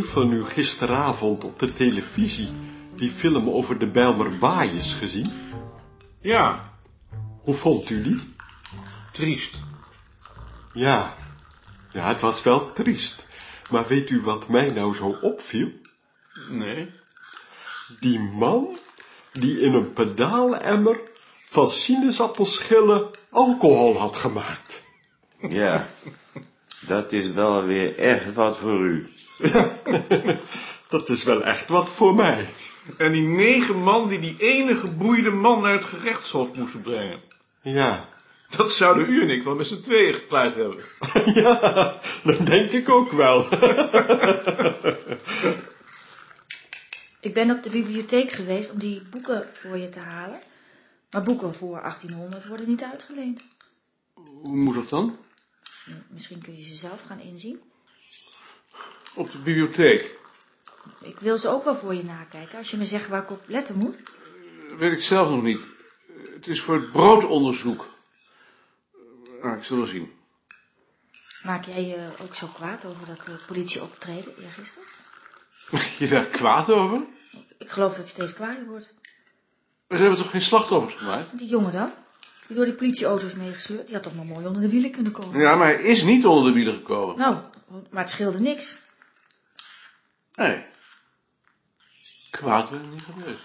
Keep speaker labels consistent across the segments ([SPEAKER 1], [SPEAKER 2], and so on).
[SPEAKER 1] van u gisteravond op de televisie die film over de Bijlmer Baaiers gezien?
[SPEAKER 2] Ja,
[SPEAKER 1] Hoe vond u die?
[SPEAKER 2] triest.
[SPEAKER 1] Ja, ja, het was wel triest. Maar weet u wat mij nou zo opviel?
[SPEAKER 2] Nee.
[SPEAKER 1] Die man die in een pedaalemmer van sinaasappelschillen alcohol had gemaakt.
[SPEAKER 3] Ja, dat is wel weer echt wat voor u.
[SPEAKER 1] Dat is wel echt wat voor mij.
[SPEAKER 2] En die negen man die die ene geboeide man naar het gerechtshof moesten brengen.
[SPEAKER 1] Ja,
[SPEAKER 2] Dat zouden u en ik wel met z'n tweeën gepleit hebben.
[SPEAKER 1] ja, dat denk ik ook wel.
[SPEAKER 4] Ik ben op de bibliotheek geweest om die boeken voor je te halen. Maar boeken voor 1800 worden niet uitgeleend.
[SPEAKER 2] Hoe moet dat dan?
[SPEAKER 4] Misschien kun je ze zelf gaan inzien.
[SPEAKER 2] Op de bibliotheek.
[SPEAKER 4] Ik wil ze ook wel voor je nakijken als je me zegt waar ik op letten moet.
[SPEAKER 2] Dat weet ik zelf nog niet. Het is voor het broodonderzoek. Nou, ik zal wel zien.
[SPEAKER 4] Maak jij je ook zo kwaad over dat de politie optreden eergisteren?
[SPEAKER 2] Je daar kwaad over?
[SPEAKER 4] Ik geloof dat ik steeds kwaad word.
[SPEAKER 2] Maar ze hebben toch geen slachtoffers gemaakt?
[SPEAKER 4] Die jongen dan? Die door die politieauto's meegesleurd, die had toch maar mooi onder de wielen kunnen komen.
[SPEAKER 2] Ja, maar hij is niet onder de wielen gekomen.
[SPEAKER 4] Nou, maar het scheelde niks.
[SPEAKER 2] Nee. Kwaad ben ik niet geweest.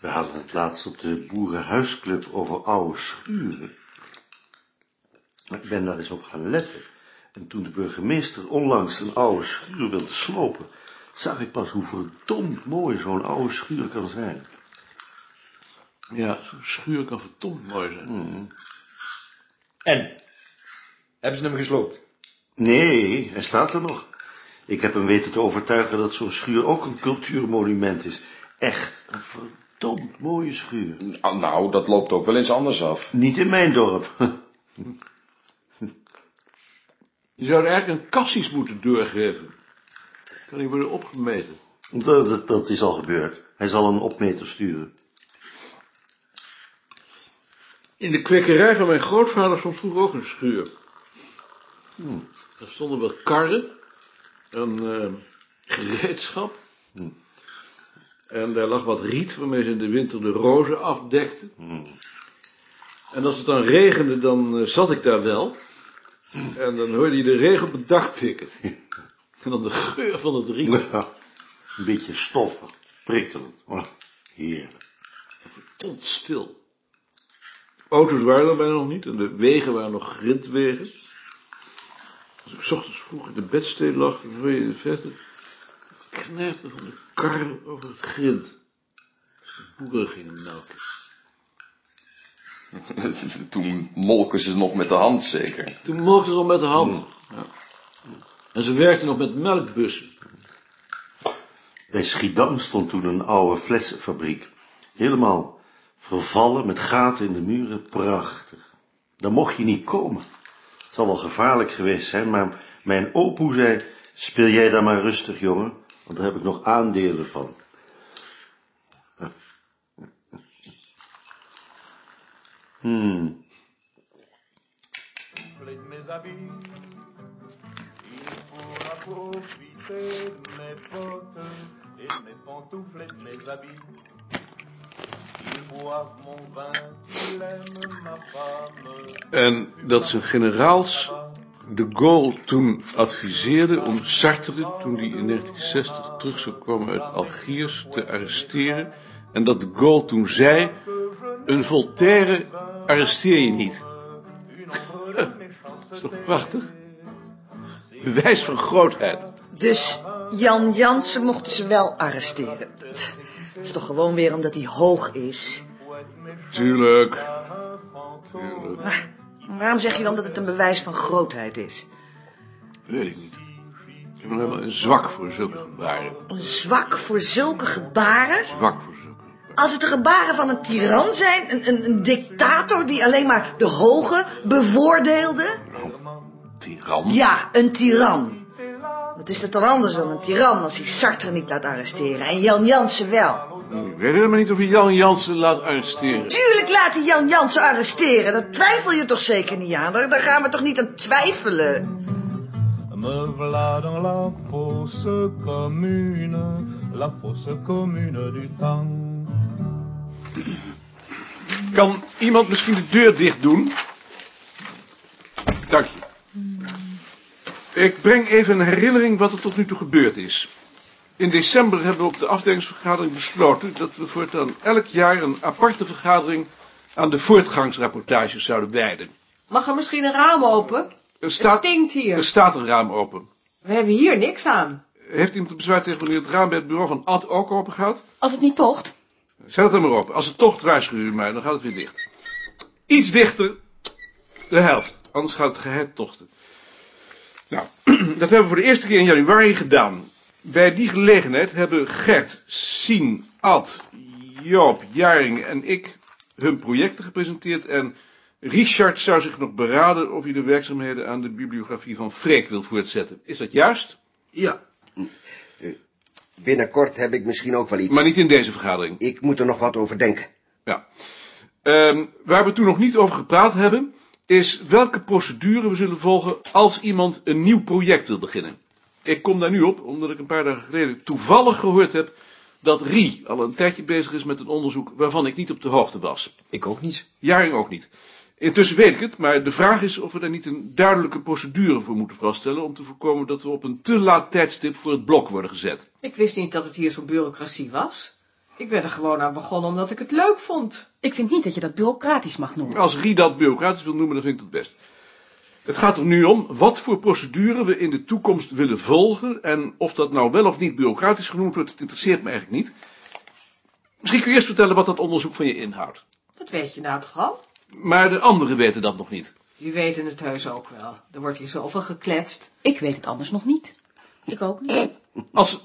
[SPEAKER 3] We hadden het laatst op de boerenhuisclub over oude schuren. Maar ik ben daar eens op gaan letten. En toen de burgemeester onlangs een oude schuur wilde slopen, zag ik pas hoe verdomd mooi zo'n oude schuur kan zijn.
[SPEAKER 2] Ja, zo'n schuur kan verdomd mooi zijn.
[SPEAKER 5] En? Hebben ze hem gesloopt?
[SPEAKER 3] Nee, hij staat er nog. Ik heb hem weten te overtuigen dat zo'n schuur ook een cultuurmonument is. Echt een verdomd mooie schuur.
[SPEAKER 5] Nou, nou, dat loopt ook wel eens anders af.
[SPEAKER 3] Niet in mijn dorp.
[SPEAKER 2] Je zou er eigenlijk een kassis moeten doorgeven. Kan die worden opgemeten?
[SPEAKER 3] Dat, dat, dat is al gebeurd. Hij zal een opmeter sturen.
[SPEAKER 2] In de kwekerij van mijn grootvader stond vroeger ook een schuur. Hmm, Daar stonden wel karren en eh, gereedschap. Hmm. En daar lag wat riet waarmee ze in de winter de rozen afdekten. En als het dan regende, dan eh, zat ik daar wel. En dan hoorde je de regen op het dak tikken. En dan de geur van het riet.
[SPEAKER 3] een beetje stoffig, prikkelend. Oh, heerlijk.
[SPEAKER 2] stond stil. Auto's waren er bijna nog niet en de wegen waren nog grindwegen. Als ik 's ochtends vroeg in de bedstee lag, dan hoorde je in de verte knijpen van de karren over het grind. Als de boeren gingen melken.
[SPEAKER 5] Toen molken ze nog met de hand zeker.
[SPEAKER 2] Toen mochten ze nog met de hand. Hmm, Ja. En ze werkten nog met melkbussen.
[SPEAKER 3] Bij Schiedam stond toen een oude flessenfabriek. Helemaal vervallen met gaten in de muren. Prachtig. Daar mocht je niet komen. Het zal wel gevaarlijk geweest zijn, maar mijn opoe zei... Speel jij daar maar rustig, jongen, want daar heb ik nog aandelen van. Hmm...
[SPEAKER 6] Appelez de mes amis. Il pourra profiter de mes bottes et de mes pantoufles et de mes habits. Ils boivent mon vin, ils aiment ma femme.
[SPEAKER 2] En dat zijn generaals de Gaulle toen adviseerde om Sartre, toen hij in 1960 terug zou komen uit Algiers, te arresteren. En dat de Gaulle toen zei, een Voltaire arresteer je niet.
[SPEAKER 6] Une
[SPEAKER 2] is
[SPEAKER 6] ombre de méchanceté.
[SPEAKER 2] toch prachtig? Bewijs van grootheid.
[SPEAKER 7] Dus Jan Jansen mochten ze wel arresteren. Dat is toch gewoon weer omdat hij hoog is.
[SPEAKER 2] Tuurlijk.
[SPEAKER 7] Waarom zeg je dan dat het een bewijs van grootheid is?
[SPEAKER 2] Weet ik niet. Ik heb alleen maar een zwak voor zulke gebaren.
[SPEAKER 7] Een zwak voor zulke gebaren?
[SPEAKER 2] Zwak voor zulke.
[SPEAKER 7] Als het de gebaren van een tiran zijn, een, een, een dictator die alleen maar de hoge bevoordeelde?
[SPEAKER 2] Tiran.
[SPEAKER 7] Ja, een tiran. Wat is dat dan anders dan een tiran als hij Sartre niet laat arresteren en Jan Jansen wel?
[SPEAKER 2] Ik weet helemaal niet of hij Jan Jansen laat arresteren.
[SPEAKER 7] Tuurlijk laat hij Jan Jansen arresteren. Daar twijfel je toch zeker niet aan? Daar, daar gaan we toch niet aan twijfelen?
[SPEAKER 6] Me voilà dans la fosse commune, la fosse commune du temps.
[SPEAKER 2] Kan iemand misschien de deur dicht doen? Dank je. Ik breng even een herinnering wat er tot nu toe gebeurd is. In december hebben we op de afdelingsvergadering besloten dat we voortaan elk jaar een aparte vergadering aan de voortgangsrapportages zouden wijden.
[SPEAKER 8] Mag er misschien een raam open?
[SPEAKER 2] Er staat,
[SPEAKER 8] Het stinkt
[SPEAKER 2] er
[SPEAKER 8] hier.
[SPEAKER 2] staat een raam open.
[SPEAKER 8] We hebben hier niks aan.
[SPEAKER 2] Heeft iemand een bezwaar tegen wanneer het raam bij het bureau van Ad ook open gaat?
[SPEAKER 4] Als het niet tocht.
[SPEAKER 2] Zet het er maar op. Als het tocht, waarschuw u mij, dan gaat het weer dicht. Iets dichter. De helft. Anders gaat het geheid tochten. Nou, dat hebben we voor de eerste keer in januari gedaan. Bij die gelegenheid hebben Gert, Sien, Ad, Joop, Jaring en ik hun projecten gepresenteerd en Richard zou zich nog beraden of hij de werkzaamheden aan de bibliografie van Freek wil voortzetten. Is dat juist?
[SPEAKER 9] Ja. Binnenkort heb ik misschien ook wel iets.
[SPEAKER 2] Maar niet in deze vergadering.
[SPEAKER 9] Ik moet er nog wat over denken.
[SPEAKER 2] Ja. Ehm, waar we toen nog niet over gepraat hebben, is welke procedure we zullen volgen als iemand een nieuw project wil beginnen. Ik kom daar nu op, omdat ik een paar dagen geleden toevallig gehoord heb dat Rie al een tijdje bezig is met een onderzoek waarvan ik niet op de hoogte was.
[SPEAKER 5] Ik ook niet.
[SPEAKER 2] Jaring ook niet. Intussen weet ik het, maar de vraag is of we daar niet een duidelijke procedure voor moeten vaststellen om te voorkomen dat we op een te laat tijdstip voor het blok worden gezet.
[SPEAKER 8] Ik wist niet dat het hier zo'n bureaucratie was. Ik ben er gewoon aan begonnen omdat ik het leuk vond. Nou,
[SPEAKER 4] Ik vind niet dat je dat bureaucratisch mag noemen.
[SPEAKER 2] Als Rie dat bureaucratisch wil noemen, dan vind ik dat best. Het gaat er nu om wat voor procedure we in de toekomst willen volgen. En of dat nou wel of niet bureaucratisch genoemd wordt, dat interesseert me eigenlijk niet. Misschien kun je eerst vertellen wat dat onderzoek van je inhoudt.
[SPEAKER 8] Dat weet je nou toch al?
[SPEAKER 2] Maar de anderen weten dat nog niet.
[SPEAKER 8] Die weten het heus ook wel. Er wordt hier zoveel gekletst.
[SPEAKER 4] Ik weet het anders nog niet. Ik ook niet.
[SPEAKER 2] Als,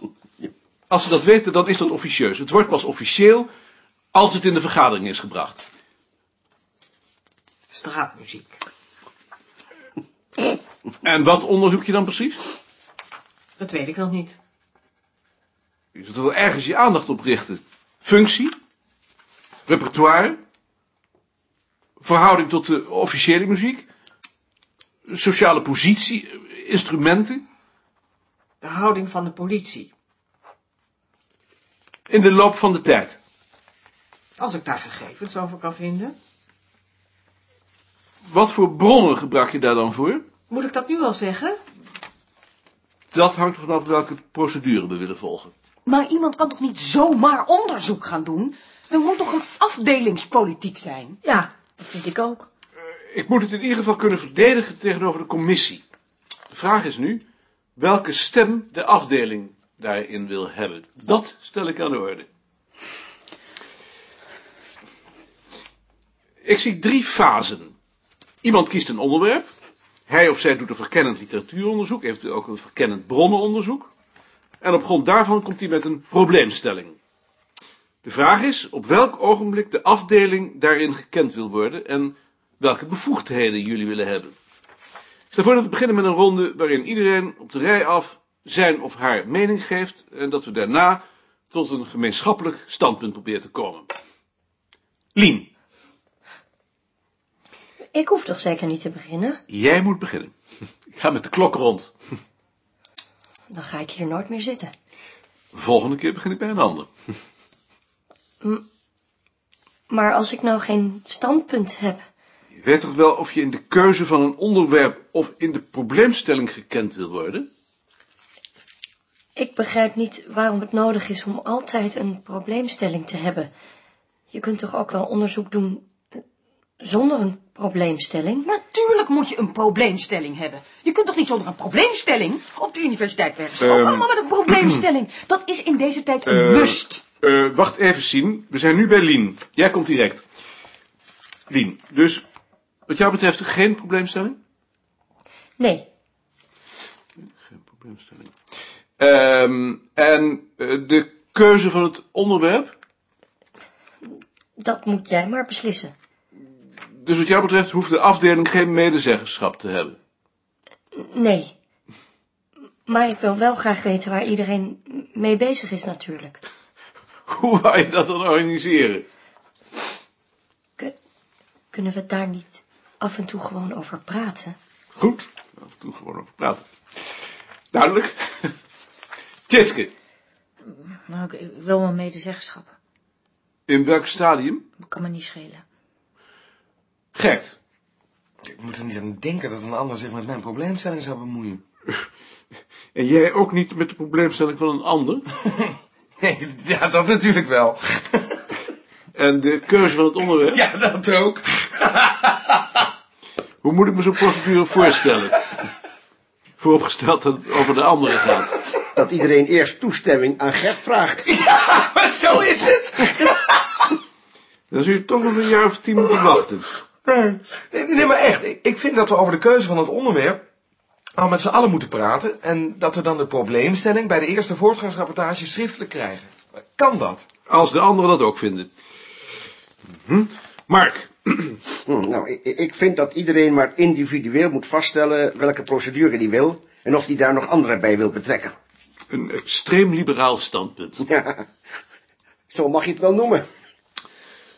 [SPEAKER 2] als ze dat weten, dan is dat officieus. Het wordt pas officieel als het in de vergadering is gebracht.
[SPEAKER 8] Straatmuziek.
[SPEAKER 2] En wat onderzoek je dan precies?
[SPEAKER 8] Dat weet ik nog niet.
[SPEAKER 2] Je zult er wel ergens je aandacht op richten. Functie, repertoire, verhouding tot de officiële muziek, sociale positie, instrumenten.
[SPEAKER 8] De houding van de politie.
[SPEAKER 2] In de loop van de tijd.
[SPEAKER 8] Als ik daar gegevens over kan vinden.
[SPEAKER 2] Wat voor bronnen gebruik je daar dan voor?
[SPEAKER 8] Moet ik dat nu al zeggen?
[SPEAKER 2] Dat hangt er vanaf welke procedure we willen volgen.
[SPEAKER 10] Maar iemand kan toch niet zomaar onderzoek gaan doen? Er moet toch een afdelingspolitiek zijn?
[SPEAKER 4] Ja, dat vind ik ook.
[SPEAKER 2] Ik moet het in ieder geval kunnen verdedigen tegenover de commissie. De vraag is nu welke stem de afdeling daarin wil hebben. Dat stel ik aan de orde. Ik zie drie fasen. Iemand kiest een onderwerp. Hij of zij doet een verkennend literatuuronderzoek, eventueel ook een verkennend bronnenonderzoek. En op grond daarvan komt hij met een probleemstelling. De vraag is op welk ogenblik de afdeling daarin gekend wil worden en welke bevoegdheden jullie willen hebben. Ik stel voor dat we beginnen met een ronde waarin iedereen op de rij af zijn of haar mening geeft en dat we daarna tot een gemeenschappelijk standpunt proberen te komen. Lien,
[SPEAKER 10] Ik hoef toch zeker niet te beginnen?
[SPEAKER 2] jij moet beginnen. Ik ga met de klok rond.
[SPEAKER 10] Dan ga ik hier nooit meer zitten.
[SPEAKER 2] Volgende keer begin ik bij een ander.
[SPEAKER 10] Maar als ik nou geen standpunt heb...
[SPEAKER 2] Je weet toch wel of je in de keuze van een onderwerp of in de probleemstelling gekend wil worden?
[SPEAKER 10] Ik begrijp niet waarom het nodig is om altijd een probleemstelling te hebben. Je kunt toch ook wel onderzoek doen eh, zonder een probleemstelling?
[SPEAKER 8] Natuurlijk moet je een probleemstelling hebben. Je kunt toch niet zonder een probleemstelling? Op de universiteit werken
[SPEAKER 2] ook Ehm. allemaal
[SPEAKER 8] met een probleemstelling. Dat is in deze tijd
[SPEAKER 2] een Eh. must. Eh, wacht even, Sien. We zijn nu bij Lien. Jij komt direct. Lien, dus wat jou betreft geen probleemstelling?
[SPEAKER 10] Nee,
[SPEAKER 2] Geen probleemstelling. Ehm, en eh, de keuze van het onderwerp?
[SPEAKER 10] dat moet jij maar beslissen.
[SPEAKER 2] Dus wat jou betreft hoeft de afdeling geen medezeggenschap te hebben.
[SPEAKER 10] Nee.
[SPEAKER 11] Maar ik wil wel graag weten waar iedereen mee bezig is natuurlijk.
[SPEAKER 2] Hoe wou je dat dan organiseren?
[SPEAKER 11] Kunnen we daar niet af en toe gewoon over praten?
[SPEAKER 2] Goed. Af en toe gewoon over praten. Duidelijk. Tjitske,
[SPEAKER 12] Maar Nou, ik, ik wil wel mee de zeggenschap.
[SPEAKER 2] in welk stadium?
[SPEAKER 12] Kan me niet schelen.
[SPEAKER 2] Gert.
[SPEAKER 8] Ik moet er niet aan denken dat een ander zich met mijn probleemstelling zou bemoeien.
[SPEAKER 2] En jij ook niet met de probleemstelling van een ander?
[SPEAKER 8] ja, dat natuurlijk wel.
[SPEAKER 2] En de keuze van het onderwerp?
[SPEAKER 8] Ja, dat ook.
[SPEAKER 2] Hoe moet ik me zo'n procedure voorstellen? Vooropgesteld dat het over de anderen gaat.
[SPEAKER 3] Dat iedereen eerst toestemming aan Gert vraagt.
[SPEAKER 8] Ja, maar zo is het.
[SPEAKER 2] Dan zul je toch nog een jaar of tien moeten wachten.
[SPEAKER 8] Nee, nee, maar echt. ik- Ik vind dat we over de keuze van het onderwerp al met z'n allen moeten praten. En dat we dan de probleemstelling bij de eerste voortgangsrapportage schriftelijk krijgen. Kan dat?
[SPEAKER 2] Als de anderen dat ook vinden. Mhm. Mark.
[SPEAKER 3] Hm, nou, ik, ik vind dat iedereen maar individueel moet vaststellen welke procedure die wil en of die daar nog anderen bij wil betrekken.
[SPEAKER 2] Een extreem liberaal standpunt.
[SPEAKER 3] Ja, zo mag je het wel noemen.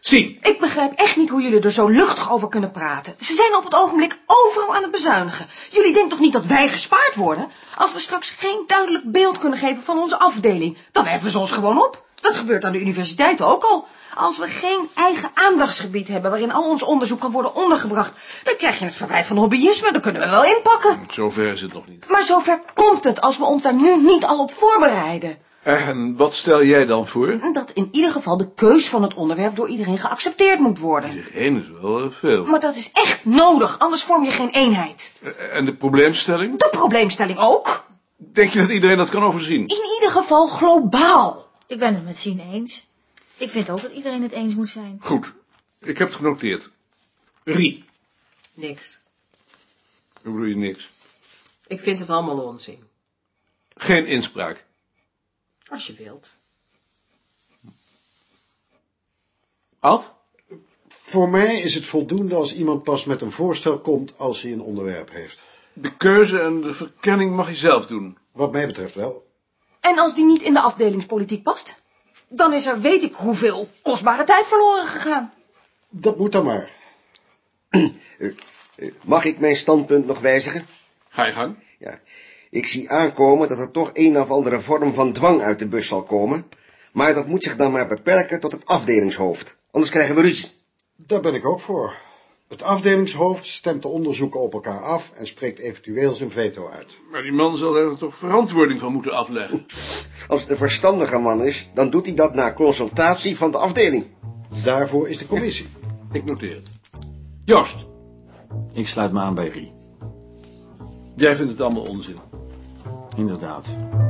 [SPEAKER 2] Zie.
[SPEAKER 10] Ik begrijp echt niet hoe jullie er zo luchtig over kunnen praten. Ze zijn op het ogenblik overal aan het bezuinigen. Jullie denken toch niet dat wij gespaard worden? Als we straks geen duidelijk beeld kunnen geven van onze afdeling, dan heffen ze ons gewoon op. Dat gebeurt aan de universiteit ook al. Als we geen eigen aandachtsgebied hebben waarin al ons onderzoek kan worden ondergebracht, dan krijg je het verwijt van hobbyisme. Dan kunnen we wel inpakken.
[SPEAKER 2] Zover is het nog niet.
[SPEAKER 10] Maar zover komt het als we ons daar nu niet al op voorbereiden.
[SPEAKER 2] En wat stel jij dan voor?
[SPEAKER 10] Dat in ieder geval de keus van het onderwerp door iedereen geaccepteerd moet worden.
[SPEAKER 2] Eén is wel eh, veel.
[SPEAKER 10] Maar dat is echt nodig, anders vorm je geen eenheid.
[SPEAKER 2] En de probleemstelling?
[SPEAKER 10] De probleemstelling ook.
[SPEAKER 2] Denk je dat iedereen dat kan overzien?
[SPEAKER 10] In ieder geval globaal.
[SPEAKER 12] Ik ben het met Sien eens. Ik vind ook dat iedereen het eens moet zijn.
[SPEAKER 2] Goed. Ik heb het genoteerd. Rie.
[SPEAKER 13] Niks.
[SPEAKER 2] Ik bedoel je niks.
[SPEAKER 13] Ik vind het allemaal onzin.
[SPEAKER 2] Geen inspraak.
[SPEAKER 13] Als je wilt.
[SPEAKER 2] Ad?
[SPEAKER 6] Voor mij is het voldoende als iemand pas met een voorstel komt als hij een onderwerp heeft.
[SPEAKER 2] De keuze en de verkenning mag je zelf doen.
[SPEAKER 6] Wat mij betreft wel.
[SPEAKER 10] En als die niet in de afdelingspolitiek past, dan is er weet ik hoeveel kostbare tijd verloren gegaan.
[SPEAKER 6] Dat moet dan maar.
[SPEAKER 3] Eh, Mag ik mijn standpunt nog wijzigen?
[SPEAKER 2] Ga je gang.
[SPEAKER 3] Ja. Ik zie aankomen dat er toch een of andere vorm van dwang uit de bus zal komen. Maar dat moet zich dan maar beperken tot het afdelingshoofd. Anders krijgen we ruzie.
[SPEAKER 6] Daar ben ik ook voor. Het afdelingshoofd stemt de onderzoeken op elkaar af en spreekt eventueel zijn veto uit.
[SPEAKER 2] Maar die man zal er toch verantwoording van moeten afleggen.
[SPEAKER 3] Als het een verstandige man is, dan doet hij dat na consultatie van de afdeling.
[SPEAKER 6] Daarvoor is de commissie.
[SPEAKER 2] Ik noteer het. Joost.
[SPEAKER 14] Ik sluit me aan bij Rie.
[SPEAKER 2] Jij vindt het allemaal onzin.
[SPEAKER 14] Inderdaad.